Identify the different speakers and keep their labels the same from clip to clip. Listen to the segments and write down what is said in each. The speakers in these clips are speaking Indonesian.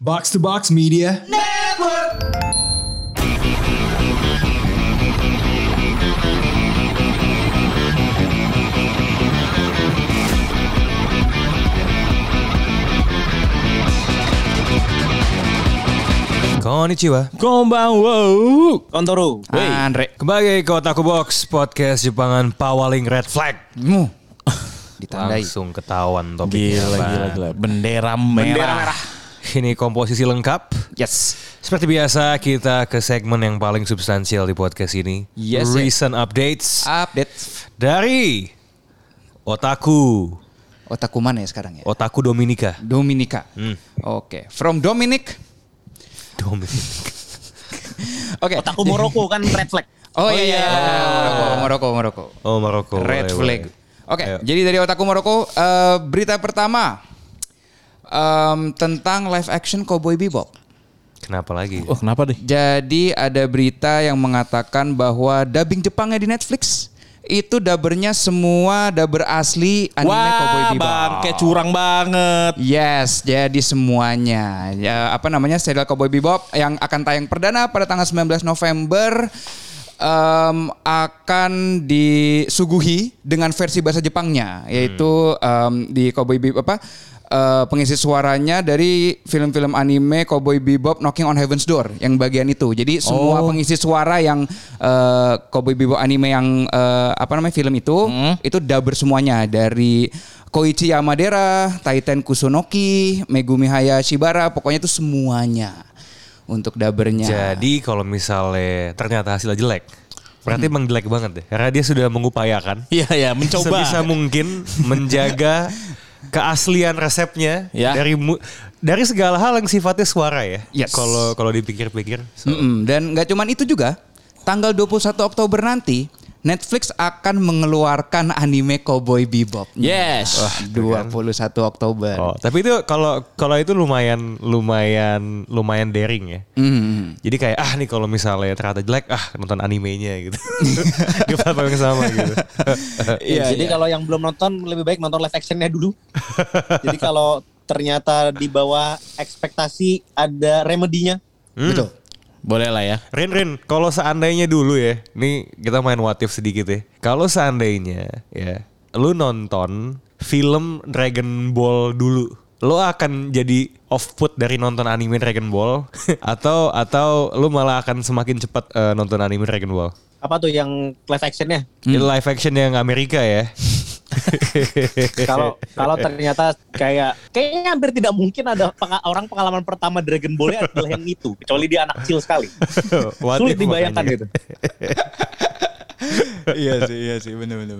Speaker 1: Box to Box Media.
Speaker 2: Konnichiwa
Speaker 3: Konbanwa Kontoro
Speaker 4: Andre.
Speaker 2: Kembali ke Otaku Box Podcast Jepangan Pawaling Red Flag
Speaker 4: Mu. Ditandai.
Speaker 2: Langsung ketahuan topiknya
Speaker 3: Gila
Speaker 2: apa.
Speaker 3: gila gila Bendera merah
Speaker 4: Bendera merah.
Speaker 2: Ini komposisi lengkap
Speaker 4: Yes.
Speaker 2: Seperti biasa kita ke segmen yang paling substansial di podcast ini
Speaker 4: Yes, ya.
Speaker 2: Recent updates
Speaker 4: Update.
Speaker 2: Dari Otaku
Speaker 4: Otaku mana ya sekarang ya?
Speaker 2: Otaku Dominika
Speaker 4: Dominika.
Speaker 2: Hmm.
Speaker 4: Oke. From Dominic.
Speaker 2: Dominika
Speaker 4: Oke.
Speaker 3: Otaku Moroko kan red flag
Speaker 4: Oh, iya, iya. Moroko, Moroko, Moroko.
Speaker 2: Oh Maroko
Speaker 4: Red
Speaker 2: boleh,
Speaker 4: flag.
Speaker 2: boleh.
Speaker 4: Oke,
Speaker 2: Ayo.
Speaker 4: jadi dari Otaku Moroko, eh, berita pertama em, tentang live action Cowboy Bebop.
Speaker 2: Kenapa lagi?
Speaker 3: Oh kenapa deh
Speaker 4: Jadi ada berita yang mengatakan bahwa dubbing Jepangnya di Netflix itu dubbernya semua dubber asli anime Cowboy
Speaker 3: Wah
Speaker 4: Bebop.
Speaker 3: bang kayak curang banget
Speaker 4: Yes, jadi semuanya. Ya, apa namanya serial Cowboy Bebop yang akan tayang perdana pada tanggal 19 November em, akan disuguhi dengan versi bahasa Jepangnya, yaitu em, di Cowboy Bebop apa eh, pengisi suaranya dari film-film anime Cowboy Bebop Knocking on Heaven's Door yang bagian itu. Jadi semua pengisi suara yang eh, Cowboy Bebop anime yang eh, apa namanya film itu itu dubber semuanya dari Koichi Yamadera, Taiten Kusunoki, Megumi Hayashibara, pokoknya itu semuanya untuk dubbernya.
Speaker 2: Jadi kalau misalnya ternyata hasilnya jelek Berarti emang jelek banget deh Karena dia sudah mengupayakan
Speaker 3: Iya ya mencoba
Speaker 2: sebisa mungkin menjaga keaslian resepnya
Speaker 3: Ya.
Speaker 2: dari mu- dari segala hal yang sifatnya suara ya.
Speaker 4: Yes.
Speaker 2: Kalau kalau dipikir-pikir. So,
Speaker 4: Mm-mm. Dan nggak cuman itu juga, tanggal 21 Oktober nanti Netflix akan mengeluarkan anime Cowboy Bebop.
Speaker 3: Yes.
Speaker 4: Wah, 21 Oktober.
Speaker 2: oh, tapi itu kalau kalau itu lumayan lumayan lumayan daring ya.
Speaker 4: Mm.
Speaker 2: Jadi kayak ah nih kalau misalnya ternyata jelek ah nonton animenya gitu. Di platform yang sama gitu.
Speaker 3: Iya, jadi kalau yang belum nonton lebih baik nonton live actionnya dulu. jadi kalau ternyata di bawah ekspektasi ada remedinya.
Speaker 4: Betul.
Speaker 3: Hmm. Boleh lah ya.
Speaker 2: Rin Rin, kalau seandainya dulu ya, nih kita main what if sedikit ya. Kalau seandainya ya, lu nonton film Dragon Ball dulu, lu akan jadi offput dari nonton anime Dragon Ball atau atau lu malah akan semakin cepat eh, nonton anime Dragon Ball.
Speaker 5: apa tuh yang live actionnya
Speaker 2: Ini live action yang Amerika ya.
Speaker 5: kalau kalau ternyata kayak kayaknya hampir tidak mungkin ada penga- orang pengalaman pertama Dragon Ball adalah yang itu kecuali dia anak kecil sekali
Speaker 2: What
Speaker 5: sulit
Speaker 2: if
Speaker 5: dibayangkan
Speaker 2: makanya.
Speaker 5: gitu
Speaker 4: iya sih, iya sih, benar benar.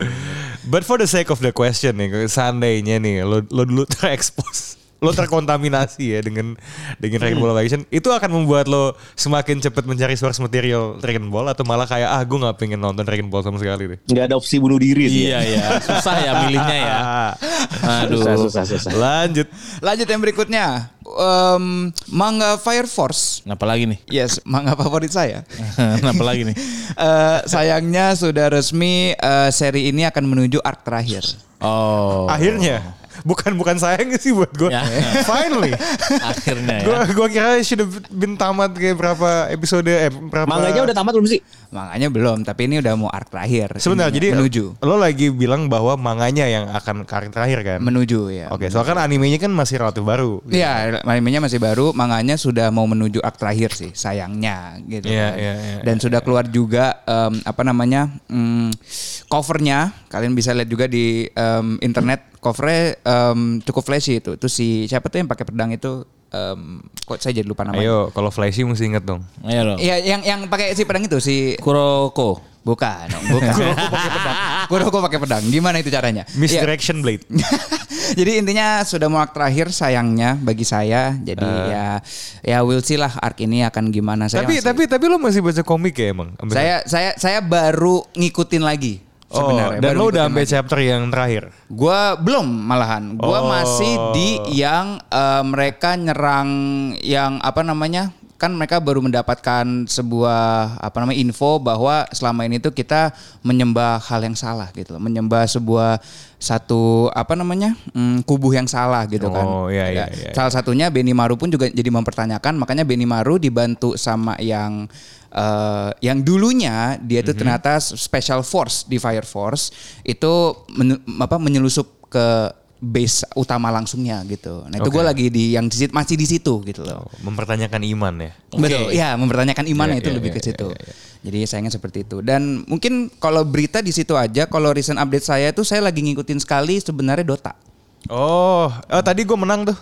Speaker 2: But for the sake of the question nih, seandainya nih lo lo dulu terekspos, lo terkontaminasi ya dengan dengan Dragon Ball Live Action, itu akan membuat lo semakin cepat mencari source material Dragon Ball atau malah kayak ah gue nggak pengen nonton Dragon Ball sama sekali deh.
Speaker 5: nggak ada opsi bunuh diri sih
Speaker 3: Iya ya, susah ya milihnya ya.
Speaker 2: Ah,
Speaker 3: Aduh.
Speaker 5: susah susah susah
Speaker 2: lanjut.
Speaker 4: Lanjut yang berikutnya. Em, manga Fire Force.
Speaker 3: Kenapa lagi nih?
Speaker 4: Yes, manga favorit saya.
Speaker 3: Kenapa lagi nih?
Speaker 4: Eh, sayangnya sudah resmi eh, seri ini akan menuju arc terakhir.
Speaker 3: Oh.
Speaker 2: Akhirnya bukan bukan sayang sih buat gue.
Speaker 3: Ya.
Speaker 2: Finally,
Speaker 3: Akhirnya ya.
Speaker 2: gue gue kira sudah been tamat kayak berapa episode eh berapa.
Speaker 5: manganya udah tamat belum sih
Speaker 4: Manganya belum, tapi ini udah mau arc terakhir.
Speaker 2: Sebentar,
Speaker 4: Ini
Speaker 2: jadi
Speaker 4: menuju.
Speaker 2: lo lagi bilang bahwa manganya yang akan karir terakhir kan?
Speaker 4: Menuju ya.
Speaker 2: Oke, soalnya kan animenya kan masih relatif baru.
Speaker 4: Iya, animenya masih baru, manganya sudah mau menuju arc terakhir sih, sayangnya gitu.
Speaker 2: Iya,
Speaker 4: kan.
Speaker 2: iya, iya,
Speaker 4: Dan sudah keluar juga em, apa namanya em, covernya, kalian bisa lihat juga di em, internet covernya em, cukup flashy itu. Itu si siapa tuh yang pakai pedang itu? em, kok saya jadi lupa namanya?
Speaker 2: Ayo, kalau flashy mesti inget dong.
Speaker 3: Ayo dong.
Speaker 4: Iya, yang yang pakai si pedang itu si
Speaker 3: Kuroko.
Speaker 4: bukan, bukan. Kuroko pakai pedang. Kuroko pakai pedang. Gimana itu caranya? Iya.
Speaker 2: Misdirection Blade.
Speaker 4: jadi intinya sudah mau arc terakhir sayangnya bagi saya. Jadi ya ya we'll see lah arc ini akan gimana saya.
Speaker 2: Eh. tapi
Speaker 4: masih-
Speaker 2: tapi tapi lo masih baca komik ya emang? Sampai-
Speaker 4: saya saya saya baru ngikutin lagi
Speaker 2: Oh,
Speaker 4: sebenarnya.
Speaker 2: dan
Speaker 4: baru
Speaker 2: lo udah
Speaker 4: ngikutin
Speaker 2: sampai
Speaker 4: lagi.
Speaker 2: chapter yang terakhir.
Speaker 4: Gua belum malahan.
Speaker 2: Oh.
Speaker 4: Gua masih di yang eh, mereka nyerang yang apa namanya? kan mereka baru mendapatkan sebuah apa namanya info bahwa selama ini tuh kita menyembah hal yang salah gitu loh, menyembah sebuah satu apa namanya hmm, kubuh yang salah gitu kan.
Speaker 2: Oh, iya, iya,
Speaker 4: Ya.
Speaker 2: iya.
Speaker 4: Salah satunya Benny Maru pun juga jadi mempertanyakan makanya Benny Maru dibantu sama yang eh, yang dulunya
Speaker 2: Mhm.
Speaker 4: dia itu ternyata special force di Fire Force itu men- apa menyelusup ke base utama langsungnya gitu. Nah itu
Speaker 2: Oke.
Speaker 4: gue lagi di yang di, sit- masih di situ gitu loh.
Speaker 2: Oh, Mempertanyakan iman ya.
Speaker 4: Betul, ya mempertanyakan imannya
Speaker 2: Iya,
Speaker 4: itu
Speaker 2: iya,
Speaker 4: lebih
Speaker 2: iya,
Speaker 4: ke situ. Jadi sayangnya seperti itu. Dan mungkin kalau berita di situ aja, kalau recent update saya itu saya lagi ngikutin sekali sebenarnya Dota.
Speaker 2: Oh, oh tadi gue menang tuh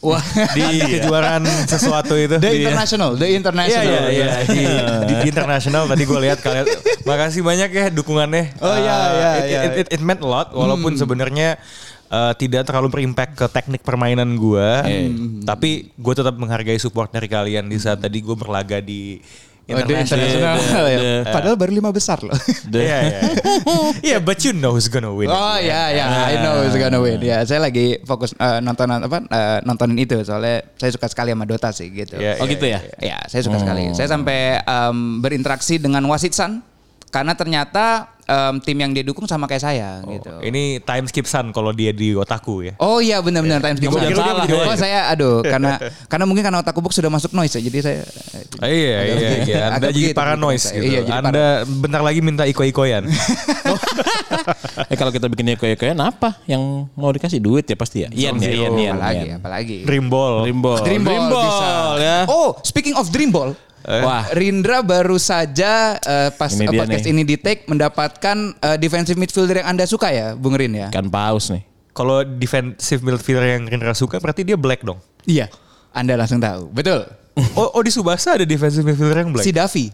Speaker 4: Wah,
Speaker 2: di kejuaraan sesuatu itu.
Speaker 4: The
Speaker 2: Di-
Speaker 4: International, The
Speaker 2: Iya
Speaker 4: International.
Speaker 2: iya iya di, di, di internasional tadi gue lihat kalian makasih banyak ya dukungannya.
Speaker 4: Oh,
Speaker 2: Uh,
Speaker 4: iya, iya,
Speaker 2: it,
Speaker 4: iya. Hmm.
Speaker 2: It, it- it meant a lot walaupun sebenarnya uh, tidak terlalu berimpact ke teknik permainan gue, tapi gue tetap menghargai support dari kalian di saat tadi gue berlaga di
Speaker 4: Oh, The International. ya. Padahal baru lima besar loh.
Speaker 2: Iya iya. Iya, but you know who's gonna win.
Speaker 4: Oh ya ya,
Speaker 5: Ah.
Speaker 4: I know it's gonna win. Ya, saya lagi fokus eh, nontonan apa eh, nontonin itu soalnya saya suka sekali sama Dota sih gitu.
Speaker 2: Iya,
Speaker 5: Oh gitu ya?
Speaker 4: Ya, saya suka sekali. Saya sampai em, berinteraksi dengan Wasit San karena ternyata em, tim yang dia dukung sama kayak saya
Speaker 5: Oh,
Speaker 4: gitu.
Speaker 5: iya.
Speaker 2: Ini time skip sun kalau dia di otakku ya.
Speaker 4: Oh iya benar-benar time skip
Speaker 2: Gua
Speaker 4: zone.
Speaker 2: kira dia menjadi
Speaker 4: Oh
Speaker 2: wasit.
Speaker 4: saya aduh karena karena mungkin karena otak kubuk sudah masuk noise ya jadi saya
Speaker 2: Ah, Iya iya iya. Anda
Speaker 4: Agak
Speaker 2: jadi
Speaker 4: begitu,
Speaker 2: paranoid
Speaker 4: begitu.
Speaker 2: gitu.
Speaker 4: Iya, jadi
Speaker 2: Anda bentar lagi minta iko-ikoyan.
Speaker 5: eh kalau kita bikin eko-ekoan apa yang mau dikasih duit ya pasti ya. Ian ya, Ian, Ian,
Speaker 4: Iya, Oh, apalagi
Speaker 5: Ian.
Speaker 4: apalagi.
Speaker 2: Dream ball. Eh.
Speaker 5: Dreamball.
Speaker 4: Dreamball bisa.
Speaker 5: ya.
Speaker 4: Oh, speaking of Dreamball.
Speaker 5: Wah.
Speaker 4: Rindra baru saja eh, pas
Speaker 5: Ini
Speaker 4: eh,
Speaker 5: dia
Speaker 4: podcast
Speaker 5: nih.
Speaker 4: ini di take mendapatkan eh, defensive midfielder yang Anda suka ya, Bung Rin ya?
Speaker 5: Ikan Kan paus nih.
Speaker 2: Kalau defensive midfielder yang Rindra suka berarti dia black dong.
Speaker 4: Iya. Anda langsung tahu. Betul.
Speaker 2: Oh, oh di Subasa ada defensive midfielder yang black.
Speaker 4: Si Davi.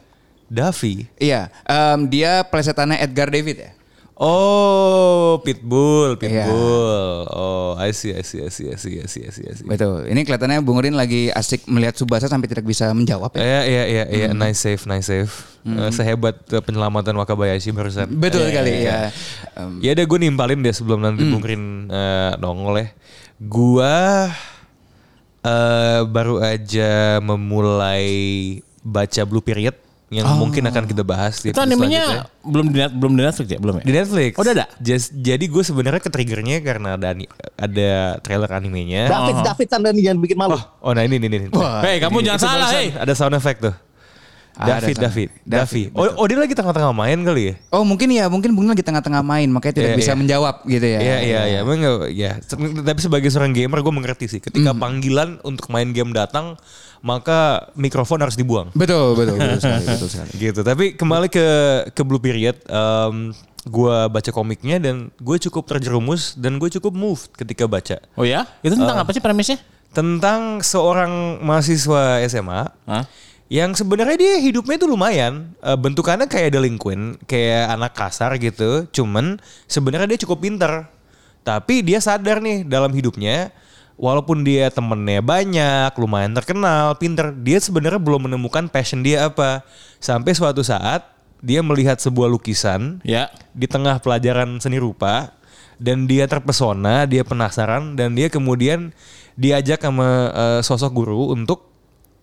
Speaker 2: Davi.
Speaker 4: Iya, Em, dia plesetannya Edgar David ya.
Speaker 2: Oh, Pitbull, Pitbull. Oh, I see, I see, I see, I see, I see, I see, I see.
Speaker 4: Betul. Ini kelihatannya Bung Rin lagi asik melihat Subasa sampai tidak bisa menjawab ya.
Speaker 2: Iya, iya, iya, iya, nice save, nice save. Eh, sehebat eh, penyelamatan Wakabayashi barusan.
Speaker 4: Betul sekali ya. Em,
Speaker 2: Ya ada gue nimpalin deh sebelum nanti
Speaker 5: Hmm.
Speaker 2: Bung Rin eh, nongol ya. Gua eh, baru aja memulai baca Blue Period yang mungkin akan kita bahas
Speaker 5: Oh.
Speaker 2: di
Speaker 5: Itu
Speaker 2: episode selanjutnya.
Speaker 5: animenya belum di, belum di Netflix ya? Belum ya?
Speaker 2: Di Netflix.
Speaker 5: Oh, udah ada?
Speaker 2: Just- jadi gue sebenarnya ketriggernya karena ada ani- ada trailer animenya.
Speaker 3: David, David Sanda nih jangan bikin malu.
Speaker 2: Oh, nah ini nih nih. nih.
Speaker 5: Hei, kamu
Speaker 2: Ini-
Speaker 5: jangan
Speaker 2: itu
Speaker 5: salah,
Speaker 2: barusan
Speaker 5: hei.
Speaker 2: Ada sound effect tuh.
Speaker 4: Ah, ada
Speaker 2: David,
Speaker 4: sound
Speaker 2: David,
Speaker 4: effect.
Speaker 2: Davi. Oh, oh, dia lagi tengah-tengah main kali ya?
Speaker 4: Oh mungkin ya, mungkin Bung Rin lagi tengah-tengah main makanya
Speaker 2: Iya,
Speaker 4: tidak bisa
Speaker 2: iya.
Speaker 4: menjawab gitu ya.
Speaker 2: Iya, iya, iya. Emang nggak- ya. Se- Tapi sebagai seorang gamer gue mengerti sih. Ketika panggilan untuk main game datang, maka mikrofon harus dibuang.
Speaker 4: Betul, betul, betul sekali, betul sekali.
Speaker 2: gitu tapi kembali ke ke Blue Period em, gue baca komiknya dan gue cukup terjerumus dan gue cukup moved ketika baca
Speaker 5: Oh ya? Itu tentang apa sih premisnya?
Speaker 2: tentang seorang mahasiswa SMA
Speaker 5: Hah?
Speaker 2: yang sebenarnya dia hidupnya tuh lumayan Eh, bentukannya kayak delinquent kayak anak kasar gitu cuman sebenarnya dia cukup pinter tapi dia sadar nih dalam hidupnya walaupun dia temennya banyak lumayan terkenal pinter dia sebenarnya belum menemukan passion dia apa sampai suatu saat dia melihat sebuah lukisan
Speaker 5: Ya.
Speaker 2: di tengah pelajaran seni rupa dan dia terpesona, dia penasaran dan dia kemudian diajak sama eh, sosok guru untuk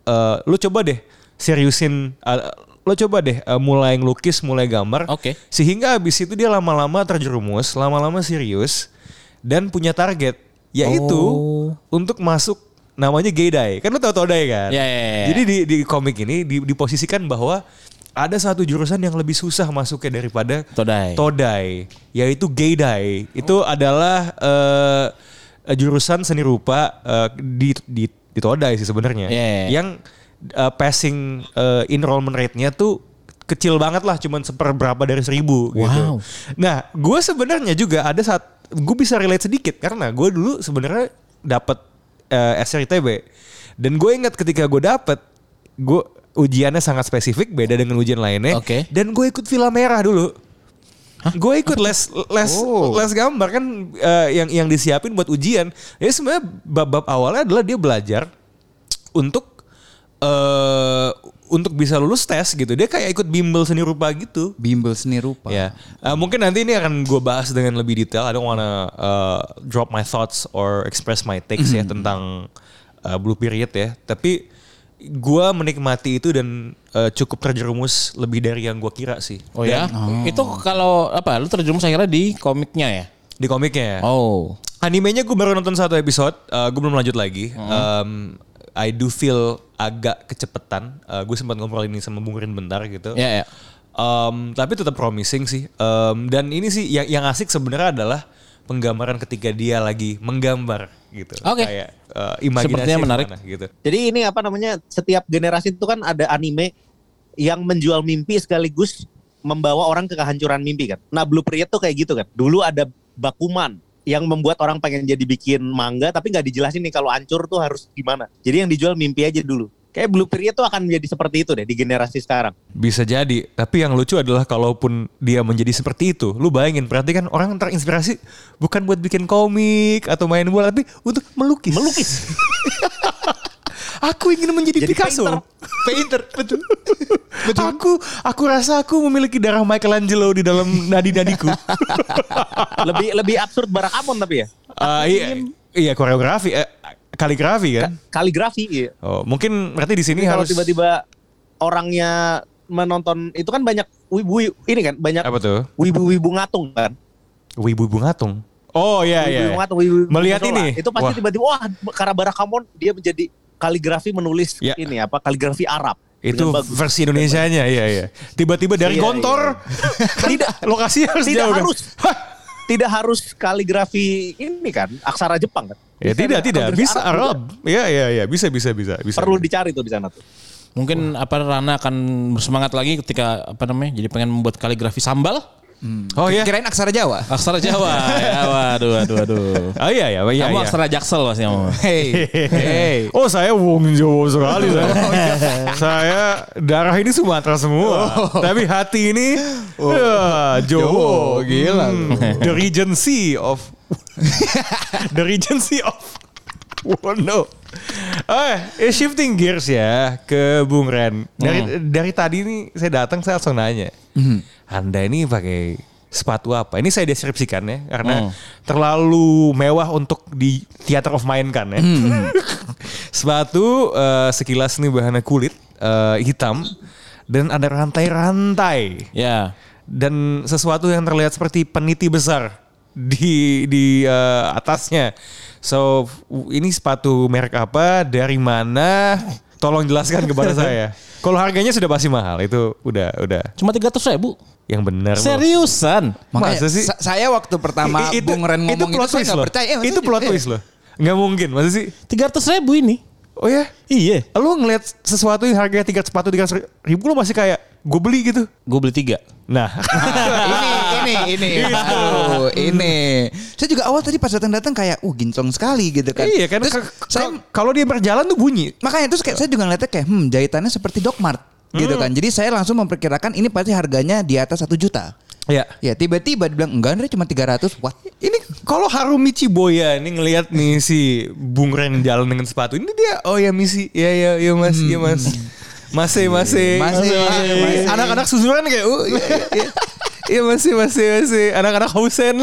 Speaker 2: eh, lu coba deh seriusin eh, lu coba deh eh, mulai ngelukis, mulai gambar.
Speaker 5: Oke.
Speaker 2: Sehingga habis itu dia lama-lama terjerumus, lama-lama serius dan punya target yaitu untuk masuk namanya Gaydai. Kan lu tau Todai kan?
Speaker 5: Ya, ya, ya, ya.
Speaker 2: Jadi di di komik ini di- diposisikan bahwa ada satu jurusan yang lebih susah masuknya daripada
Speaker 5: Todai.
Speaker 2: Todai, yaitu Gaydai. Itu adalah eh, jurusan seni rupa eh, di, di di Todai sih sebenarnya.
Speaker 5: Iya, iya.
Speaker 2: Yang eh, passing eh, enrollment rate-nya tuh kecil banget lah, cuman seperberapa dari seribu gitu.
Speaker 5: Wow.
Speaker 2: Nah, gue sebenarnya juga ada saat gue bisa relate sedikit karena gue dulu sebenarnya dapat eh, SRITB dan gue ingat ketika gue dapet gue ujiannya sangat spesifik beda dengan ujian lainnya
Speaker 5: Oke.
Speaker 2: dan gue ikut Villa Merah dulu. Gue ikut les les les gambar kan eh, yang yang disiapin buat ujian. Jadi sebenarnya bab-bab awalnya adalah dia belajar untuk eh untuk bisa lulus tes gitu. Dia kayak ikut bimbel seni rupa gitu.
Speaker 4: Bimbel seni rupa.
Speaker 2: Ya, Eh, mungkin nanti ini akan gue bahas dengan lebih detail. I don't wanna eh, drop my thoughts or express my takes ya tentang eh, Blue Period ya. Tapi gua menikmati itu dan eh, cukup terjerumus lebih dari yang gua kira sih
Speaker 1: Oh ya? Itu kalau apa? Lu terjerumus akhirnya di komiknya ya?
Speaker 2: di komiknya. ya.
Speaker 1: Oh.
Speaker 2: Animenya gue baru nonton satu episode, eh, gue belum lanjut lagi.
Speaker 1: Hmm.
Speaker 2: Um, I do feel agak kecepetan. gue sempat ngobrol ini sama Bung Rin bentar gitu.
Speaker 1: Ya, ya.
Speaker 2: Um, tapi tetap promising sih. Um, dan ini sih yang yang asik sebenarnya adalah penggambaran ketika dia lagi menggambar gitu.
Speaker 1: Oke.
Speaker 2: Kayak eh, imajinasi
Speaker 1: Sepertinya menarik.
Speaker 2: kemana gitu.
Speaker 3: Jadi ini apa namanya? Setiap generasi itu kan ada anime yang menjual mimpi sekaligus membawa orang ke kehancuran mimpi kan. Nah, blueprint tuh kayak gitu kan. Dulu ada Bakuman yang membuat orang pengen jadi bikin mangga tapi nggak dijelasin nih kalau hancur tuh harus gimana. Jadi yang dijual mimpi aja dulu. Kayak blueprint tuh akan menjadi seperti itu deh di generasi sekarang.
Speaker 2: Bisa jadi, tapi yang lucu adalah kalaupun dia menjadi seperti itu, lu bayangin berarti kan orang terinspirasi bukan buat bikin komik atau main bola, tapi untuk melukis. Melukis. aku ingin menjadi
Speaker 3: Jadi
Speaker 2: Picasso.
Speaker 3: painter.
Speaker 2: Painter, betul. betul. Aku aku rasa aku memiliki darah Michelangelo di dalam nadi-nadiku.
Speaker 3: lebih lebih absurd Barakamon tapi ya.
Speaker 2: Eh, iya, iya koreografi, eh, kaligrafi
Speaker 3: Ya.
Speaker 2: kan.
Speaker 3: Kaligrafi iya.
Speaker 2: Oh, mungkin berarti di sini
Speaker 3: Ini Iya, kalau
Speaker 2: harus
Speaker 3: tiba-tiba orangnya menonton itu kan banyak wibu ini kan banyak
Speaker 2: apa tuh?
Speaker 3: wibu-wibu ngatung kan.
Speaker 2: Wibu-wibu ngatung. Oh iya iya.
Speaker 3: Wibu ngatung, wibu- wibu
Speaker 2: Melihat
Speaker 3: musola.
Speaker 2: ini.
Speaker 3: Itu pasti
Speaker 2: Wah.
Speaker 3: tiba-tiba wah karena Barakamon dia menjadi kaligrafi menulis
Speaker 2: Ya.
Speaker 3: ini apa kaligrafi Arab.
Speaker 2: Itu
Speaker 3: Dengan bagus.
Speaker 2: versi Indonesianya, iya iya. Tiba-tiba dari
Speaker 3: Iya,
Speaker 2: Gontor,
Speaker 3: Tidak.
Speaker 2: lokasinya harus
Speaker 3: Tidak
Speaker 2: jauh. kan?
Speaker 3: harus.
Speaker 2: Hah?
Speaker 3: tidak harus kaligrafi ini kan aksara Jepang kan.
Speaker 2: Ya
Speaker 3: Bisa
Speaker 2: tidak,
Speaker 3: ada
Speaker 2: tidak.
Speaker 3: kaligrafi
Speaker 2: Bisa
Speaker 3: juga.
Speaker 2: Arab. Iya, iya, iya. Bisa, bisa, bisa. bisa.
Speaker 3: Perlu dicari tuh di sana tuh.
Speaker 1: Mungkin apa Rana akan bersemangat lagi ketika apa namanya? Jadi pengen membuat kaligrafi sambal
Speaker 2: Oh iya.
Speaker 4: Kirain aksara Jawa.
Speaker 1: aksara Jawa. ya, waduh, waduh, waduh.
Speaker 2: Oh iya, iya, iya. iya.
Speaker 1: Kamu aksara Jaksel pasti kamu.
Speaker 4: Hey. hey.
Speaker 2: Oh saya wong Jawa sekali saya. Oh, iya. saya darah ini Sumatera semua.
Speaker 3: Oh.
Speaker 2: Tapi hati ini ya, Jawa. Hmm.
Speaker 4: Jawa, gila lu.
Speaker 2: The Regency of The Regency of Wono. Eh, eh, shifting gears ya ke Bung Ren. Dari dari tadi nih saya datang saya langsung nanya. Anda ini pakai sepatu apa? Ini saya deskripsikan ya karena terlalu mewah untuk di theater of mind kan ya. sepatu eh, sekilas nih bahannya kulit eh, hitam dan ada rantai-rantai
Speaker 1: Ya.
Speaker 2: dan sesuatu yang terlihat seperti peniti besar di di eh, atasnya. So w- ini sepatu merek apa? Dari mana? Tolong jelaskan kepada saya. Kalau harganya sudah pasti mahal itu udah udah
Speaker 1: Cuma 300 ribu.
Speaker 2: yang benar. loh.
Speaker 1: Seriusan?
Speaker 4: Makanya
Speaker 2: Masa sih?
Speaker 4: sa- saya waktu pertama
Speaker 2: I-
Speaker 4: Bung Ren ngomong itu,
Speaker 2: plot
Speaker 4: saya
Speaker 2: twist
Speaker 4: nggak
Speaker 2: loh.
Speaker 4: percaya. Eh,
Speaker 2: itu
Speaker 4: maksudnya,
Speaker 2: plot
Speaker 4: eh,
Speaker 2: twist loh. Nggak mungkin, masa sih?
Speaker 1: 300 ribu ini.
Speaker 2: Oh ya?
Speaker 1: Iya.
Speaker 2: Lu ngelihat sesuatu yang harganya tiga sepatu tiga ribu lu masih kayak gue beli gitu.
Speaker 1: Gue beli tiga.
Speaker 2: Nah,
Speaker 4: ini ini ini
Speaker 2: Iya.
Speaker 4: Aduh, ini saya juga awal tadi pas datang datang kayak uh gincong sekali gitu kan
Speaker 2: iya kan
Speaker 4: terus
Speaker 2: ke- ke-
Speaker 4: saya
Speaker 2: kalau dia berjalan tuh bunyi.
Speaker 4: makanya terus kayak saya juga ngeliatnya kayak hmm jahitannya seperti dogmart
Speaker 2: Hmm.
Speaker 4: gitu kan jadi saya langsung memperkirakan ini pasti harganya di atas satu juta
Speaker 2: Ya.
Speaker 4: ya tiba-tiba dibilang enggak Andre cuma 300 what
Speaker 2: Ini kalau Harumi Ciboya ini ngelihat nih si Bung Ren jalan dengan sepatu ini dia oh ya misi ya ya ya mas ya mas masih masih
Speaker 4: Hmm. Iya, Masih, masih, masih.
Speaker 2: anak-anak susuran kayak oh iya iya, iya masih masih masih anak-anak Hausen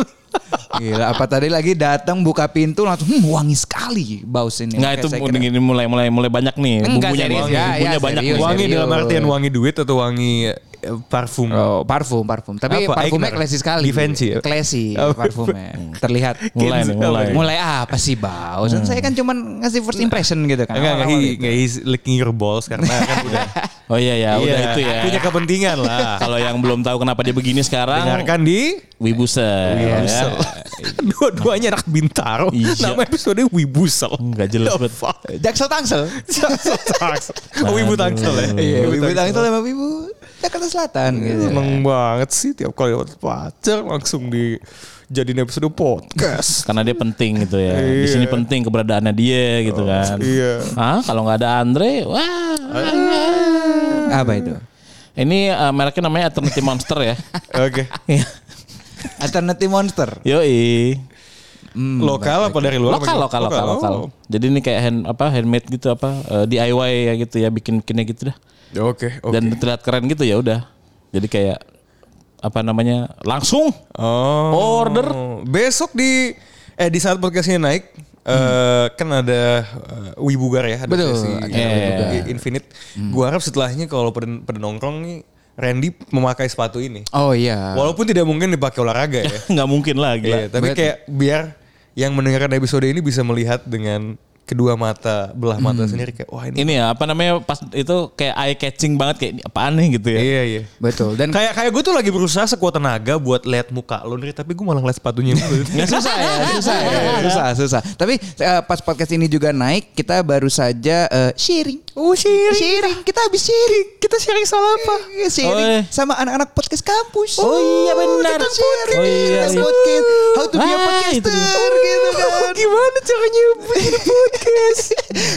Speaker 4: Iya, gila apa tadi lagi datang buka pintu langsung hmm wangi sekali bau sini
Speaker 1: Enggak itu ini mulai mulai mulai banyak nih
Speaker 4: Enggak,
Speaker 1: bumbunya nih.
Speaker 4: serius, ya,
Speaker 1: bumbunya
Speaker 4: ya,
Speaker 1: banyak.
Speaker 4: serius.
Speaker 1: nih.
Speaker 2: wangi
Speaker 4: serius.
Speaker 2: dalam artian wangi duit atau wangi eh, parfum
Speaker 4: Oh, parfum, parfum. Tapi
Speaker 2: Apa?
Speaker 4: parfumnya
Speaker 2: Eigner?
Speaker 4: classy sekali.
Speaker 2: Defensi ya?
Speaker 4: Classy
Speaker 2: Oh.
Speaker 4: parfumnya. Terlihat.
Speaker 1: Mulai nih, mulai.
Speaker 4: Mulai apa sih bau? Saya kan cuman ngasih first impression gitu kan.
Speaker 2: Enggak, enggak,
Speaker 4: Awal-awal
Speaker 2: he-
Speaker 4: gitu.
Speaker 2: enggak, he's licking your balls karena kan udah,
Speaker 1: Oh iya ya, udah
Speaker 2: Iya,
Speaker 1: itu ya.
Speaker 2: Punya kepentingan lah.
Speaker 1: Kalau yang belum tahu kenapa dia begini sekarang, ya.
Speaker 2: Dengarkan di
Speaker 1: Wibusel.
Speaker 2: Wibusel.
Speaker 4: Eh, iya.
Speaker 2: Dua-duanya anak Bintaro.
Speaker 1: Iya.
Speaker 2: Nama episode Wibusel.
Speaker 1: Enggak jelas banget.
Speaker 2: iya.
Speaker 4: Jaksel Tangsel.
Speaker 2: Jaksel Tangsel. Oh, Wibu Tangsel ya.
Speaker 1: Iya,
Speaker 4: Ibu Tangsel sama Ibu Jakarta Selatan gitu.
Speaker 2: Seneng banget sih tiap kali dapat pacar langsung di jadiin episode podcast.
Speaker 1: Karena dia penting gitu ya. Di sini penting keberadaannya dia gitu kan.
Speaker 2: iya.
Speaker 1: Ah, kalau nggak ada Andre, wah.
Speaker 4: Apa itu?
Speaker 1: Ini eh, mereknya namanya Eternity Monster ya.
Speaker 2: Oke.
Speaker 4: Alternative Monster.
Speaker 2: Iya.
Speaker 1: Yoi.
Speaker 2: Lokal apa dari luar?
Speaker 1: Hmm, Lokal, lokal, lokal, lokal.
Speaker 2: Oh.
Speaker 1: Jadi ini kayak hand apa handmade gitu apa eh, DIY ya gitu ya bikin bikinnya gitu dah.
Speaker 2: Oh, Oke, oke.
Speaker 1: Dan terlihat keren gitu ya udah. Jadi kayak apa namanya langsung
Speaker 2: Oh. Order besok di eh di
Speaker 1: Hmm.
Speaker 2: saat podcastnya naik eh kan ada eh, Wibugar ya ada
Speaker 4: Betul,
Speaker 2: sesi
Speaker 4: ada
Speaker 2: eh,
Speaker 1: Wibugar.
Speaker 2: Infinite.
Speaker 1: Hmm.
Speaker 2: Gua harap setelahnya kalau pada pada nongkrong nih Randy memakai sepatu ini.
Speaker 4: Oh
Speaker 1: Ah.
Speaker 4: iya.
Speaker 2: Walaupun tidak mungkin dipakai olahraga ya.
Speaker 1: Nggak mungkin lah gila.
Speaker 2: Iya, tapi
Speaker 4: Berarti-
Speaker 2: kayak biar yang mendengarkan episode ini bisa melihat dengan kedua mata belah mata sendiri kayak wah ini.
Speaker 1: Ini ya apa namanya pas itu kayak eye catching banget kayak ini apaan nih gitu ya.
Speaker 2: Iya iya.
Speaker 4: Betul. Dan
Speaker 2: Kayak kayak gue tuh lagi berusaha sekuat tenaga buat lihat muka lo nih, tapi gue malah ngeliat sepatunya dulu.
Speaker 4: Nggak susah ya, susah ya,
Speaker 2: Iya.
Speaker 4: susah, susah. Tapi eh, pas podcast ini juga naik, kita baru saja eh, sharing. Oh sharing. Sharing, kita habis sharing. Kita sharing sama apa? sharing
Speaker 1: Oh, iya.
Speaker 4: sama anak-anak podcast kampus.
Speaker 1: Oh, iya, benar.
Speaker 4: Kita sharing,
Speaker 1: Oh, iya,
Speaker 4: kita
Speaker 1: iya.
Speaker 4: podcast. How to be a
Speaker 1: Ah, itu
Speaker 4: podcaster,
Speaker 1: dia.
Speaker 4: gitu kan. Gimana caranya podcast?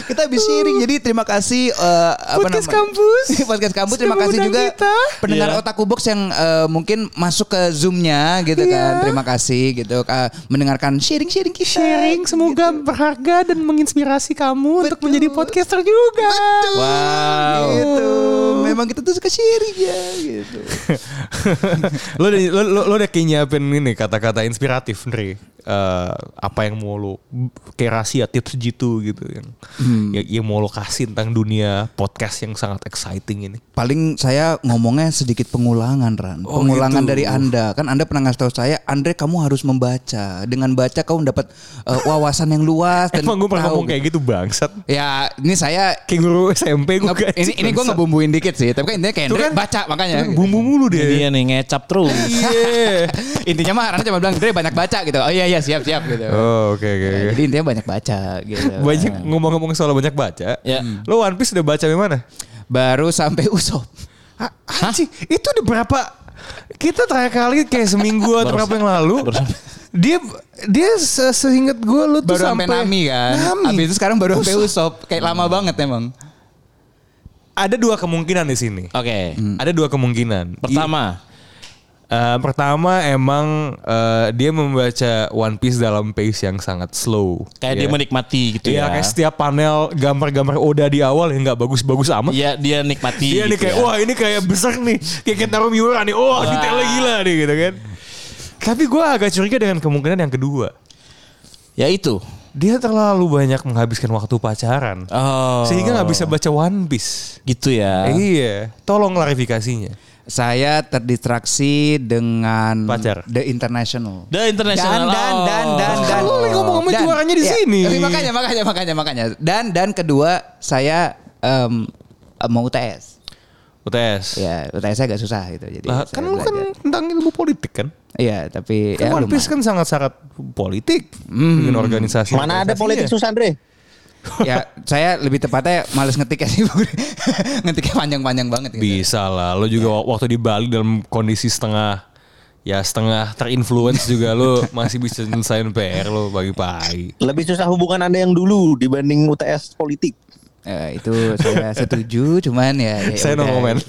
Speaker 4: kita habis sharing, jadi terima kasih. eh, apa
Speaker 6: Podcast
Speaker 4: namanya?
Speaker 6: kampus.
Speaker 4: podcast kampus, terima
Speaker 6: Sudah
Speaker 4: kasih
Speaker 6: mengundang
Speaker 4: juga
Speaker 6: kita.
Speaker 4: pendengar
Speaker 1: Iya.
Speaker 4: Otaku Box yang eh, mungkin masuk ke Zoom-nya gitu
Speaker 2: Iya.
Speaker 4: kan. Terima kasih gitu eh, mendengarkan sharing-sharing kita.
Speaker 6: sharing semoga berharga dan menginspirasi kamu untuk menjadi podcaster juga.
Speaker 4: Wow. Gitu. Memang kita tuh suka sharing ya gitu.
Speaker 2: lo udah lo, lo, lo udah kayak nyiapin ini kata-kata inspiratif Ndre. Eh, apa yang mau lo kayak rahasia tips gitu gitu yang yang, yang mau lo kasih tentang dunia podcast yang sangat exciting ini
Speaker 4: Paling saya ngomongnya sedikit pengulangan Ran.
Speaker 2: Oh, gitu.
Speaker 4: pengulangan dari Anda. Kan Anda pernah ngasih tahu saya, Andre kamu harus membaca. Dengan baca kamu dapat eh, wawasan yang luas dan
Speaker 2: emang gue pernah
Speaker 4: Kan tahu.
Speaker 2: ngomong kayak gitu bangsat
Speaker 4: Ya, ini saya
Speaker 2: kayak guru SMP gue
Speaker 4: nge- ini ini gue ngebumbuin dikit sih, tapi kan intinya kayak
Speaker 2: gitu. Tuh
Speaker 4: Andre
Speaker 2: kan.
Speaker 4: baca makanya. gitu.
Speaker 2: bumbu mulu
Speaker 1: Ini
Speaker 2: deh
Speaker 1: Dia nih ngecap terus.
Speaker 2: iya
Speaker 4: intinya mah Rana cuma bilang Dre banyak baca gitu oh iya iya siap siap gitu
Speaker 2: oh oke oke
Speaker 4: Ya,
Speaker 2: oke.
Speaker 4: jadi intinya banyak baca gitu
Speaker 2: banyak ngomong-ngomong soal banyak baca
Speaker 1: Ya.
Speaker 2: lo One Piece udah baca di mana
Speaker 4: baru sampai usop
Speaker 2: Ha- Anjing, itu udah berapa kita terakhir kali kayak seminggu atau
Speaker 1: Baru
Speaker 2: berapa yang lalu
Speaker 1: baru sampai.
Speaker 2: dia dia se- seingat gue lu tuh
Speaker 4: baru sampai
Speaker 2: sampai
Speaker 4: Nami kan
Speaker 2: Nami. Hmm.
Speaker 4: habis itu sekarang baru sampai usop kayak lama banget emang
Speaker 2: ada dua kemungkinan di sini
Speaker 1: Oke.
Speaker 2: ada dua kemungkinan
Speaker 1: Pertama,
Speaker 2: Eh, pertama emang eh, dia membaca One Piece dalam pace yang sangat slow
Speaker 1: kayak dia menikmati gitu
Speaker 2: Iya,
Speaker 1: ya.
Speaker 2: kayak setiap panel gambar-gambar Oda di awal yang nggak bagus-bagus amat.
Speaker 1: Iya, dia nikmati.
Speaker 2: Iya nih
Speaker 1: gitu
Speaker 2: kayak
Speaker 1: ya.
Speaker 2: wah ini kayak besar nih kayak Kentaro Miura nih wah detailnya gila nih gitu kan. Tapi gue agak curiga dengan kemungkinan yang kedua.
Speaker 1: Ya itu.
Speaker 2: Dia terlalu banyak menghabiskan waktu pacaran
Speaker 1: Oh.
Speaker 2: sehingga nggak bisa baca One Piece.
Speaker 1: gitu ya.
Speaker 2: Iya, tolong klarifikasinya.
Speaker 4: saya terdistraksi dengan
Speaker 2: Pacar.
Speaker 4: The International
Speaker 1: The
Speaker 4: dan
Speaker 1: International. oh.
Speaker 4: dan dan dan
Speaker 2: Kan lu lagi ngomong-ngomong
Speaker 4: Dan-
Speaker 2: juaranya di
Speaker 4: ya,
Speaker 2: sini.
Speaker 4: tapi makanya makanya makanya makanya dan dan kedua saya em, mau UTS
Speaker 2: UTS.
Speaker 4: ya UTS saya agak susah gitu jadi
Speaker 2: Lah,
Speaker 4: saya
Speaker 2: kan lu kan
Speaker 4: belajar.
Speaker 2: tentang ilmu politik kan?
Speaker 4: Iya, tapi
Speaker 2: Kan
Speaker 4: ya
Speaker 2: One Piece kan
Speaker 4: lumayan.
Speaker 2: sangat sangat politik dengan organisasi.
Speaker 3: Mana ada
Speaker 2: Iya.
Speaker 3: politik susah Andre?
Speaker 4: ya saya lebih tepatnya males ngetiknya sih Bu. ngetiknya panjang-panjang banget gitu.
Speaker 2: Bisa lah, lo juga wa- waktu di Bali dalam kondisi setengah ya setengah terinfluence juga lo masih bisa nyelesain PR lo pagi-pagi.
Speaker 3: Lebih susah hubungan Anda yang dulu dibanding UTS politik.
Speaker 4: Ya, itu saya setuju cuman ya, ya
Speaker 2: Saya no
Speaker 4: udah.
Speaker 2: comment.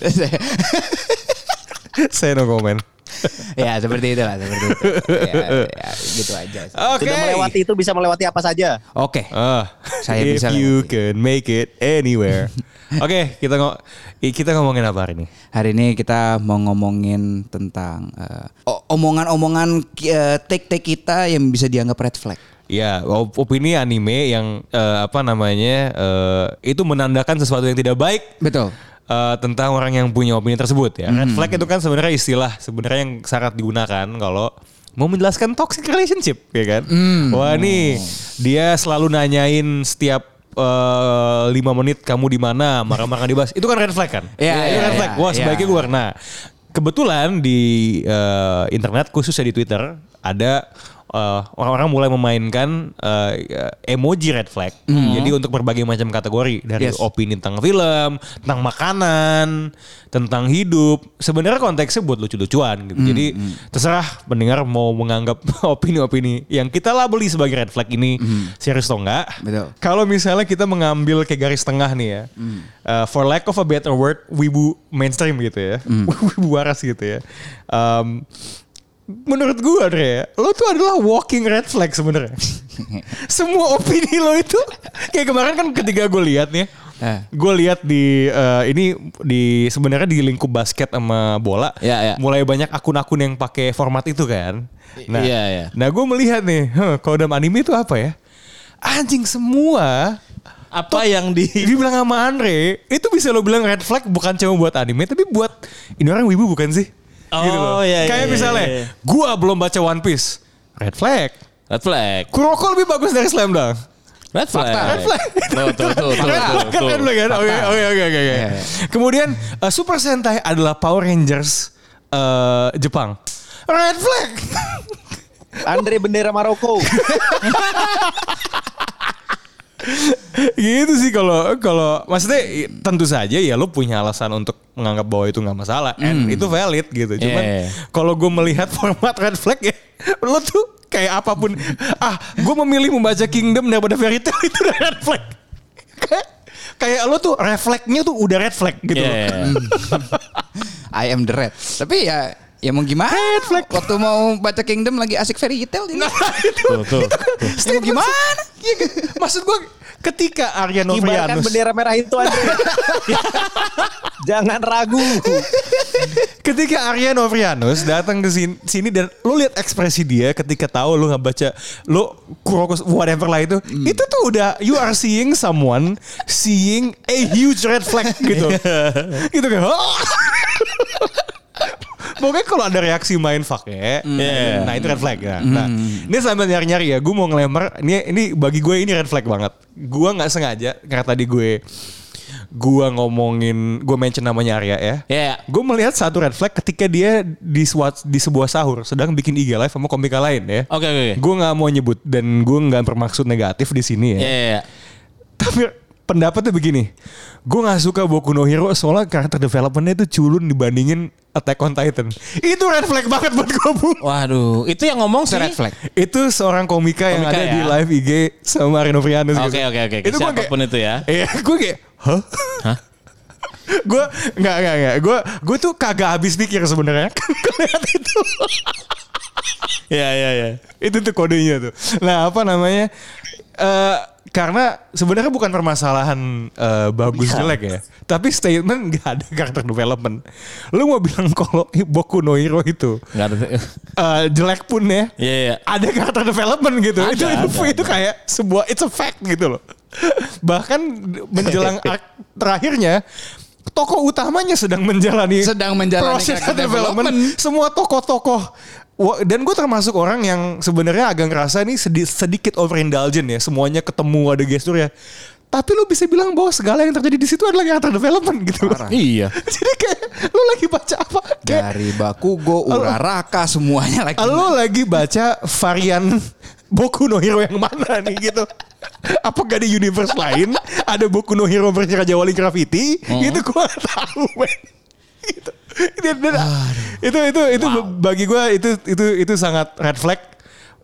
Speaker 2: Saya no comment.
Speaker 4: ya seperti itulah seperti itu. Ya, ya, gitu aja. sih.
Speaker 2: Oke.
Speaker 3: Sudah melewati itu bisa melewati apa saja.
Speaker 4: Oke.
Speaker 2: Ah,
Speaker 4: Saya
Speaker 2: if
Speaker 4: bisa
Speaker 2: you
Speaker 4: lewati.
Speaker 2: can make it anywhere. Oke, kita ngo- i- kita ngomongin apa hari ini?
Speaker 4: Hari ini kita mau ngomongin tentang eh, o- omongan-omongan eh, take-take kita yang bisa dianggap red flag.
Speaker 2: Ya, op- opini anime yang eh, apa namanya eh, itu menandakan sesuatu yang tidak baik
Speaker 4: Betul.
Speaker 2: eh, tentang orang yang punya opini tersebut ya.
Speaker 4: Hmm.
Speaker 2: Red flag itu kan sebenarnya istilah sebenarnya yang sangat digunakan kalau mau menjelaskan toxic relationship ya kan.
Speaker 4: Hmm.
Speaker 2: Wah
Speaker 4: Oh.
Speaker 2: nih dia selalu nanyain setiap eh, lima menit kamu di mana marah-marah dibahas itu kan red flag kan.
Speaker 4: Iya,
Speaker 2: itu
Speaker 4: iya,
Speaker 2: red flag.
Speaker 4: iya,
Speaker 2: Wah
Speaker 4: iya.
Speaker 2: sebaiknya gue nah kebetulan di eh, internet khususnya di Twitter ada eh, orang-orang mulai memainkan eh, emoji red flag. Jadi untuk berbagai macam kategori dari
Speaker 4: Hmm. Yes.
Speaker 2: opini tentang film, tentang makanan, tentang hidup. Sebenarnya konteksnya buat lucu-lucuan
Speaker 4: Hmm,
Speaker 2: gitu. Jadi terserah pendengar mau menganggap opini-opini yang kita labeli sebagai red flag ini serius atau enggak.
Speaker 4: Hmm. Betul.
Speaker 2: Kalau misalnya kita mengambil kayak garis tengah nih ya. uh, for lack of a better word, wibu mainstream gitu ya. wibu waras gitu ya. Um, menurut gua Dre, lo tuh adalah walking red flag sebenarnya. Semua opini lo itu kayak kemarin kan ketika gue lihat nih,
Speaker 4: Eh.
Speaker 2: gue lihat di eh, ini di sebenarnya di lingkup basket sama bola,
Speaker 1: Ya, ya.
Speaker 2: mulai banyak akun-akun yang pakai format itu kan. Nah,
Speaker 1: Iya, ya.
Speaker 2: nah gue melihat nih, huh, kalau dalam anime itu apa ya? Anjing semua
Speaker 1: apa yang di
Speaker 2: Dibilang sama Andre, itu bisa lo bilang red flag bukan cuma buat anime, tapi buat ini orang wibu bukan sih? Gitu loh.
Speaker 1: Oh, iya, iya,
Speaker 2: Kayak
Speaker 1: iya,
Speaker 2: misalnya,
Speaker 1: iya.
Speaker 2: gua belum baca One Piece. Red flag.
Speaker 1: red flag.
Speaker 2: Kuroko lebih bagus dari Slam Dunk.
Speaker 1: Red flag.
Speaker 2: Red flag.
Speaker 1: Tuh, tuh, tuh, tuh,
Speaker 2: Red flag kan,
Speaker 1: tuh,
Speaker 2: red
Speaker 1: tuh.
Speaker 2: flag kan? Oke, oke, oke, oke, oke.
Speaker 4: Iya, iya.
Speaker 2: Kemudian eh, Super Sentai adalah Power Rangers eh, Jepang. Red flag.
Speaker 3: Andre bendera Maroko.
Speaker 2: gitu sih kalau kalau maksudnya i- tentu saja ya lu punya alasan untuk menganggap bahwa itu nggak masalah and itu valid gitu. Cuman
Speaker 1: Yeah.
Speaker 2: kalau gue melihat format red flag ya lu tuh kayak apapun ah gue memilih membaca Kingdom daripada Fairy Tail itu udah red flag. Kayak- Kayak lu tuh refleksnya tuh udah red flag gitu.
Speaker 1: Iya,
Speaker 2: loh.
Speaker 1: iya.
Speaker 4: I am the red. Tapi ya ya mau gimana? Waktu mau baca Kingdom lagi asik fairy tale
Speaker 2: Nah,
Speaker 4: ini.
Speaker 2: kan
Speaker 1: Tuh, tuh.
Speaker 4: Ya mau gimana?
Speaker 2: Iya, Maksud gue ketika Arya
Speaker 3: Kibarkan
Speaker 2: Novrianus
Speaker 3: bendera merah itu Andre. Jangan ragu.
Speaker 2: ketika Arya Novrianus datang ke sini, sini dan lu lihat ekspresi dia ketika tahu lu nggak baca lu kurokos whatever lah itu itu tuh udah you are seeing someone seeing a huge red flag gitu gitu kan Pokoknya kalau ada reaksi main fuck ya,
Speaker 1: Mm. Yeah. Mm.
Speaker 2: nah itu red flag ya. Nah, ini sambil nyari-nyari ya, gue mau ngelempar. Ini ini bagi gue ini red flag banget. Gue nggak sengaja karena tadi gue gue ngomongin gue mention namanya Arya ya.
Speaker 1: Iya.
Speaker 2: Gue melihat satu red flag ketika dia di, suat- di sebuah sahur sedang bikin IG live sama komika lain ya.
Speaker 1: Oke, oke, oke.
Speaker 2: Gue nggak mau nyebut dan gue nggak bermaksud negatif di sini ya.
Speaker 1: Iya, iya, iya.
Speaker 2: Tapi pendapatnya begini, gue nggak suka Boku no Hero soalnya karakter developmentnya itu culun dibandingin Attack on Titan. Itu red flag banget buat gue bu.
Speaker 1: Waduh, itu yang ngomong sih.
Speaker 4: Itu red flag.
Speaker 2: Itu seorang komika, yang
Speaker 1: Komika
Speaker 2: ada di
Speaker 1: ya?
Speaker 2: live IG sama Rino Frianus
Speaker 1: Oke, oke, oke, oke.
Speaker 2: gua
Speaker 1: Siapapun itu ya.
Speaker 2: Iya, gue kayak, hah?
Speaker 1: Hah?
Speaker 2: gue nggak nggak nggak gue gue tuh kagak habis pikir sebenarnya Ngeliat itu
Speaker 1: Iya, iya, iya.
Speaker 2: itu tuh kodenya tuh nah apa namanya Eh karena sebenarnya bukan permasalahan eh, bagus jelek ya tapi statement nggak ada karakter development lu mau bilang kalau Boku no Hero itu
Speaker 1: Enggak ada.
Speaker 2: eh, jelek pun ya
Speaker 1: Iya, iya.
Speaker 2: ada karakter development gitu.
Speaker 1: Ada,
Speaker 2: itu itu,
Speaker 1: ada,
Speaker 2: itu kayak sebuah it's a fact gitu loh. Bahkan menjelang arc terakhirnya tokoh utamanya sedang menjalani
Speaker 4: Sedang menjalani
Speaker 2: proses
Speaker 4: karakter
Speaker 2: development.
Speaker 4: development.
Speaker 2: Semua tokoh-tokoh Wa- dan gue termasuk orang yang sebenarnya agak ngerasa ini sedi- sedikit overindulgent ya semuanya ketemu ada gestur ya tapi lu bisa bilang bahwa segala yang terjadi di situ adalah karakter development gitu loh.
Speaker 4: Parah.
Speaker 1: Iya.
Speaker 2: jadi kayak lu lagi baca apa kayak
Speaker 4: Dari Bakugo, Uraraka semuanya lagi.
Speaker 2: lo lagi baca varian Boku no Hero yang mana nih gitu. Apa gak di universe lain ada Boku no Hero versi Raja Wali Graffiti? Itu gue gak tahu, men. Gitu. Dan- dan- itu itu itu bagi gue itu itu itu sangat red flag.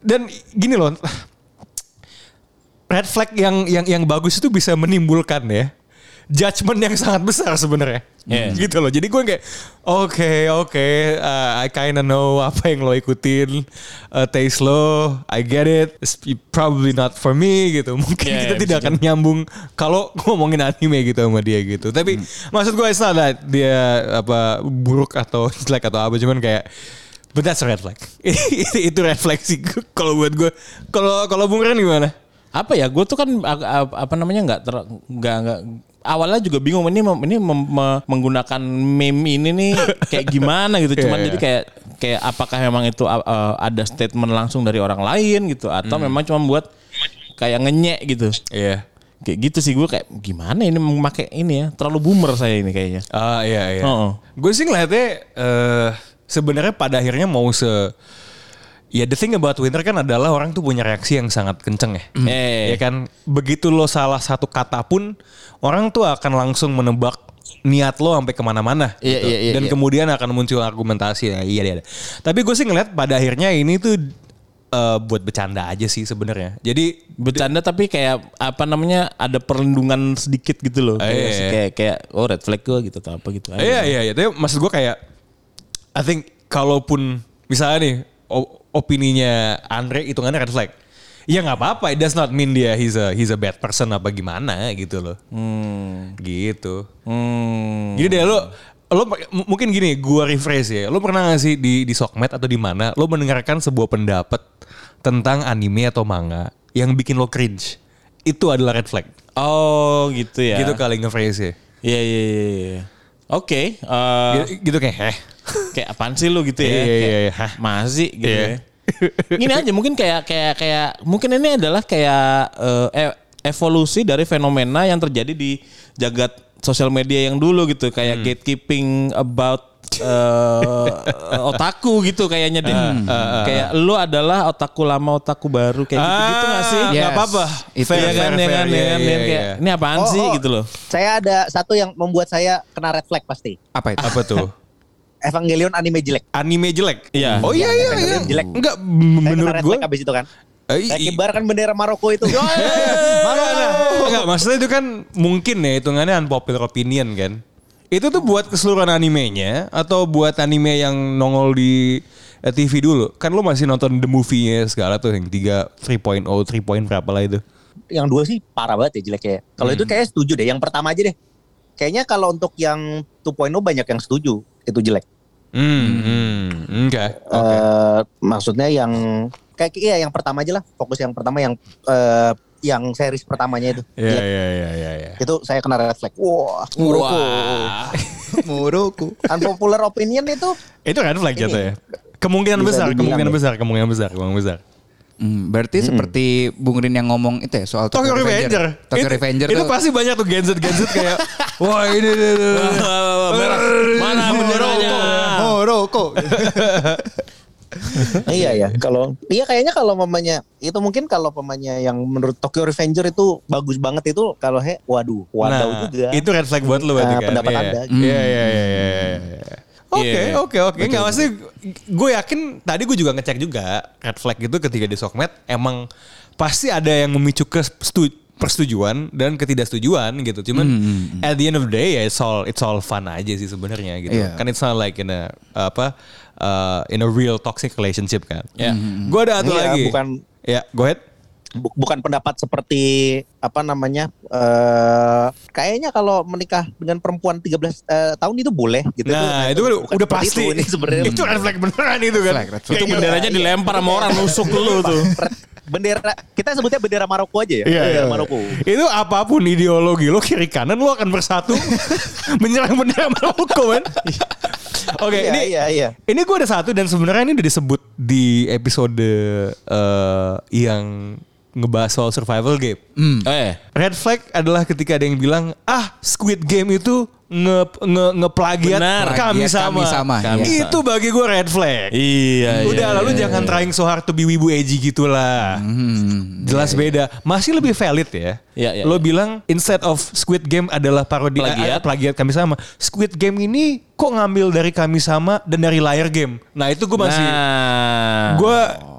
Speaker 2: Dan gini loh, red flag yang yang yang bagus itu bisa menimbulkan ya judgement yang sangat besar sebenarnya.
Speaker 1: Iya.
Speaker 2: Gitu loh. Jadi gue kayak oke oke uh, I kinda know apa yang lo ikutin uh, taste lo I get it it's probably not for me gitu. Mungkin
Speaker 1: Iya,
Speaker 2: kita
Speaker 1: iya,
Speaker 2: tidak
Speaker 1: bisa
Speaker 2: akan nyambung kalau ngomongin anime gitu sama dia gitu. Tapi maksud gue it's not that dia apa buruk atau jelek atau apa cuman kayak But that's a red flag. itu red flag sih kalau buat gue. Kalau kalau Bung Ren gimana?
Speaker 1: apa ya gue tuh kan ag- ag- apa namanya nggak ter nggak nggak awalnya juga bingung ini mem- ini mem- me- menggunakan meme ini nih kayak gimana gitu cuman
Speaker 2: Iya,
Speaker 1: jadi
Speaker 2: iya.
Speaker 1: kayak kayak apakah memang itu uh, uh, ada statement langsung dari orang lain gitu atau
Speaker 2: Hmm.
Speaker 1: memang cuma buat kayak ngenyek gitu
Speaker 2: Iya.
Speaker 1: kayak gitu sih gue kayak gimana ini memakai ini ya terlalu boomer saya ini kayaknya
Speaker 2: Ah iya iya.
Speaker 1: Heeh.
Speaker 2: Gue sih ngeliatnya eh, sebenarnya pada akhirnya mau se Ya the thing about winter kan adalah orang tuh punya reaksi yang sangat kenceng ya.
Speaker 4: Mm.
Speaker 1: Eh.
Speaker 2: Ya kan begitu lo salah satu kata pun orang tuh akan langsung menebak niat lo sampai kemana-mana. gitu.
Speaker 4: Iya, iya, iya,
Speaker 2: Dan
Speaker 4: iya.
Speaker 2: kemudian akan muncul argumentasi. Nah, iya, iya, iya. Tapi gue sih ngeliat pada akhirnya ini tuh eh, buat bercanda aja sih sebenarnya. Jadi
Speaker 1: bercanda tapi kayak apa namanya ada perlindungan sedikit gitu loh
Speaker 2: Eh,
Speaker 1: kayak
Speaker 2: iya, iya.
Speaker 1: kayak, kayak oh red flag gue gitu atau apa gitu
Speaker 2: Iya iya iya. Tapi maksud gue kayak I think kalaupun misalnya nih o- opininya Andre hitungannya red flag. Ya nggak apa-apa. It does not mean dia he's a he's a bad person apa gimana gitu loh. Gitu.
Speaker 1: Hmm.
Speaker 2: Jadi deh lo lo m- mungkin gini gua refresh ya. Lo pernah gak sih di di sokmed atau di mana lo mendengarkan sebuah pendapat tentang anime atau manga yang bikin lo cringe? itu adalah red flag.
Speaker 1: Oh gitu ya.
Speaker 2: Gitu kali nge-phrase-nya.
Speaker 1: Iya iya iya. iya. Oke. eh,
Speaker 2: Gitu- Gitu kayak heh.
Speaker 1: kayak apaan sih lu gitu ya?
Speaker 2: Iya, iya,
Speaker 1: Kayak,
Speaker 2: iya. Hah?
Speaker 1: Masih gitu
Speaker 2: Iya.
Speaker 1: ya. Gini aja mungkin kayak kayak kayak mungkin ini adalah kayak eh, e- evolusi dari fenomena yang terjadi di jagat sosial media yang dulu gitu
Speaker 2: Hmm.
Speaker 1: kayak gatekeeping about eh, otaku gitu kayaknya deh.
Speaker 2: Hmm. Ah,
Speaker 1: kayak lu adalah otaku lama otaku baru kayak
Speaker 2: Ah,
Speaker 1: gitu-gitu gak sih?
Speaker 4: Yes.
Speaker 1: Gak apa-apa.
Speaker 4: Itu
Speaker 1: Fair,
Speaker 4: fair,
Speaker 1: kan,
Speaker 2: fair,
Speaker 1: ya kan,
Speaker 2: fair.
Speaker 1: ya
Speaker 2: Iya,
Speaker 1: kan,
Speaker 2: iya,
Speaker 1: ya kan. Kayak,
Speaker 2: iya.
Speaker 1: ini apaan
Speaker 3: Oh,
Speaker 1: sih
Speaker 3: oh.
Speaker 1: gitu loh.
Speaker 3: Saya ada satu yang membuat saya kena red flag pasti.
Speaker 4: Apa itu?
Speaker 2: Apa tuh?
Speaker 3: Evangelion anime jelek.
Speaker 2: Anime jelek.
Speaker 1: Iya.
Speaker 2: Oh iya iya iya.
Speaker 3: Evangelion jelek.
Speaker 2: Enggak
Speaker 3: Saya
Speaker 2: menurut
Speaker 3: kena red
Speaker 2: gue.
Speaker 3: flag abis itu kan.
Speaker 2: eh,
Speaker 3: Saya
Speaker 2: i-
Speaker 3: kibarkan bendera Maroko itu.
Speaker 2: Mana ada? Enggak, maksudnya itu kan mungkin ya hitungannya unpopular opinion kan. Itu tuh buat keseluruhan animenya atau buat anime yang nongol di eh, TV dulu. Kan lu masih nonton the movie-nya segala tuh yang 3 3.0, 3 point berapa lah itu.
Speaker 3: yang dua sih parah banget ya jeleknya. Kalau itu
Speaker 2: Hmm.
Speaker 3: kayaknya setuju deh. Yang pertama aja deh. Kayaknya kalau untuk yang 2.0 banyak yang setuju itu jelek.
Speaker 2: Hmm, hmm, enggak.
Speaker 3: Eh maksudnya yang kayak iya yang pertama aja lah. Fokus yang pertama yang eh, yang series pertamanya itu.
Speaker 2: Iya,
Speaker 3: Jelek.
Speaker 2: iya, iya, iya, iya.
Speaker 3: Itu saya kena red flag. Wah,
Speaker 1: Wah.
Speaker 4: Muruku.
Speaker 3: unpopular opinion itu
Speaker 2: Itu red flag jatuh ya. Kemungkinan
Speaker 3: Bisa
Speaker 2: besar,
Speaker 3: dibilang
Speaker 2: kemungkinan
Speaker 3: ya.
Speaker 2: besar, kemungkinan besar, kemungkinan besar.
Speaker 4: Hmm, berarti seperti Bung Rin yang ngomong itu ya soal
Speaker 2: Tokyo Revenger.
Speaker 4: Tokyo
Speaker 2: Itu-
Speaker 4: Revenger
Speaker 2: itu,
Speaker 4: tuh-
Speaker 2: pasti banyak tuh Genzet Genzet kayak wah ini ini, ini, ini.
Speaker 1: Mana benderanya?
Speaker 4: Moroko.
Speaker 3: iya ya kalau iya kayaknya kalau mamanya itu mungkin kalau pemanya yang menurut Tokyo Revenger itu bagus banget itu kalau he waduh
Speaker 2: Nah,
Speaker 3: waduh juga
Speaker 2: Itu red flag buat lu berarti
Speaker 3: Eh,
Speaker 2: kan.
Speaker 3: pendapat
Speaker 2: Iya.
Speaker 3: Anda.
Speaker 2: Iya iya iya iya, iya. Oke
Speaker 1: Iya.
Speaker 2: oke oke. Enggak maksudnya gue yakin tadi gue juga ngecek juga red flag itu ketika di sokmed emang pasti ada yang memicu ke setu- persetujuan dan ketidaksetujuan gitu. Cuman at the end of the day ya it's all it's all fun aja sih sebenarnya gitu.
Speaker 4: Iya.
Speaker 2: Kan it's not like in a apa uh, in a real toxic relationship kan.
Speaker 1: Ya.
Speaker 2: Gue ada satu
Speaker 3: Iya,
Speaker 2: lagi.
Speaker 3: bukan
Speaker 2: Ya, go ahead.
Speaker 3: bu- bukan pendapat seperti apa namanya eh kayaknya kalau menikah dengan perempuan 13 eh, tahun itu boleh gitu
Speaker 2: Nah, itu, udah-
Speaker 3: bukan
Speaker 2: udah
Speaker 3: seperti
Speaker 2: pasti.
Speaker 3: itu, ini sebenarnya
Speaker 2: Itu red flag beneran itu kan.
Speaker 4: Flag, red flag.
Speaker 1: Itu benderanya dilempar sama orang nusuk lu tuh.
Speaker 3: bendera kita sebutnya bendera Maroko aja ya
Speaker 2: Iya,
Speaker 3: bendera
Speaker 2: iya.
Speaker 3: Maroko
Speaker 2: Itu apapun ideologi lo kiri kanan lo akan bersatu menyerang bendera Maroko kan. Oke,
Speaker 3: Iya,
Speaker 2: ini
Speaker 3: iya, iya.
Speaker 2: ini gue ada satu dan sebenarnya ini udah disebut di episode eh, yang ngebahas soal survival game.
Speaker 4: Hmm,
Speaker 1: Oh ya.
Speaker 2: Red flag adalah ketika ada yang bilang ah Squid Game itu nge nge ngeplagiat
Speaker 1: Benar.
Speaker 2: kami,
Speaker 4: Plagiat
Speaker 2: sama.
Speaker 4: kami sama,
Speaker 1: Kami iya. sama.
Speaker 2: Itu bagi gue red flag.
Speaker 1: Iya,
Speaker 2: Udah
Speaker 1: iya,
Speaker 2: lalu
Speaker 1: iya,
Speaker 2: jangan
Speaker 1: iya. Mm-hmm.
Speaker 2: trying so hard to be wibu edgy gitu lah.
Speaker 4: hmm.
Speaker 2: Jelas beda. Masih lebih valid ya.
Speaker 1: Iya, iya,
Speaker 2: lo
Speaker 1: iya.
Speaker 2: bilang instead of Squid Game adalah parodi eh,
Speaker 1: Plagiat.
Speaker 2: plagiat kami sama. Squid Game ini kok ngambil dari kami sama dan dari layar game. Nah, itu gue masih
Speaker 1: Nah.
Speaker 2: gue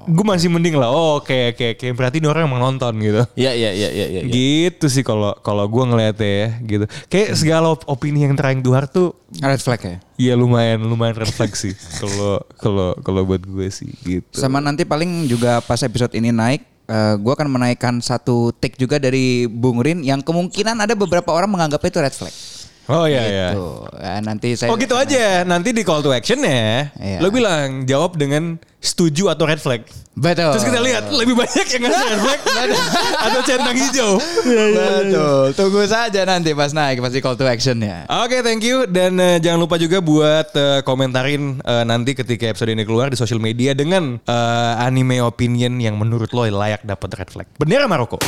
Speaker 2: gue masih mending lah. Oh, oke oke oke. Berarti ini orang emang nonton gitu.
Speaker 1: Iya, iya, iya, iya, iya. iya.
Speaker 2: Gitu sih kalau kalau gue ngeliatnya ya gitu.
Speaker 1: Hmm.
Speaker 2: Kayak segala op- opini yang trying to hard tuh
Speaker 4: Red flag ya.
Speaker 2: ya lumayan lumayan refleksi kalau kalau kalau buat gue sih gitu.
Speaker 4: Sama nanti paling juga pas episode ini naik eh, gua akan menaikkan satu take juga dari Bung Rin yang kemungkinan ada beberapa orang menganggapnya itu red flag.
Speaker 2: Oh iya iya.
Speaker 1: Ya. Gitu.
Speaker 4: Tuh, eh, nanti saya
Speaker 2: Oh gitu aja. Nanti di call to action ya.
Speaker 4: Iya.
Speaker 2: Lo bilang jawab dengan setuju atau red flag.
Speaker 4: Betul.
Speaker 2: Terus kita lihat lebih banyak yang ngasih red flag atau centang hijau.
Speaker 4: iya. Betul. Tunggu saja nanti pas naik pasti call to action ya.
Speaker 2: Oke, thank you dan eh, jangan lupa juga buat eh, komentarin eh, nanti ketika episode ini keluar di sosial media dengan eh, anime opinion yang menurut lo layak dapat red flag. Bendera Maroko.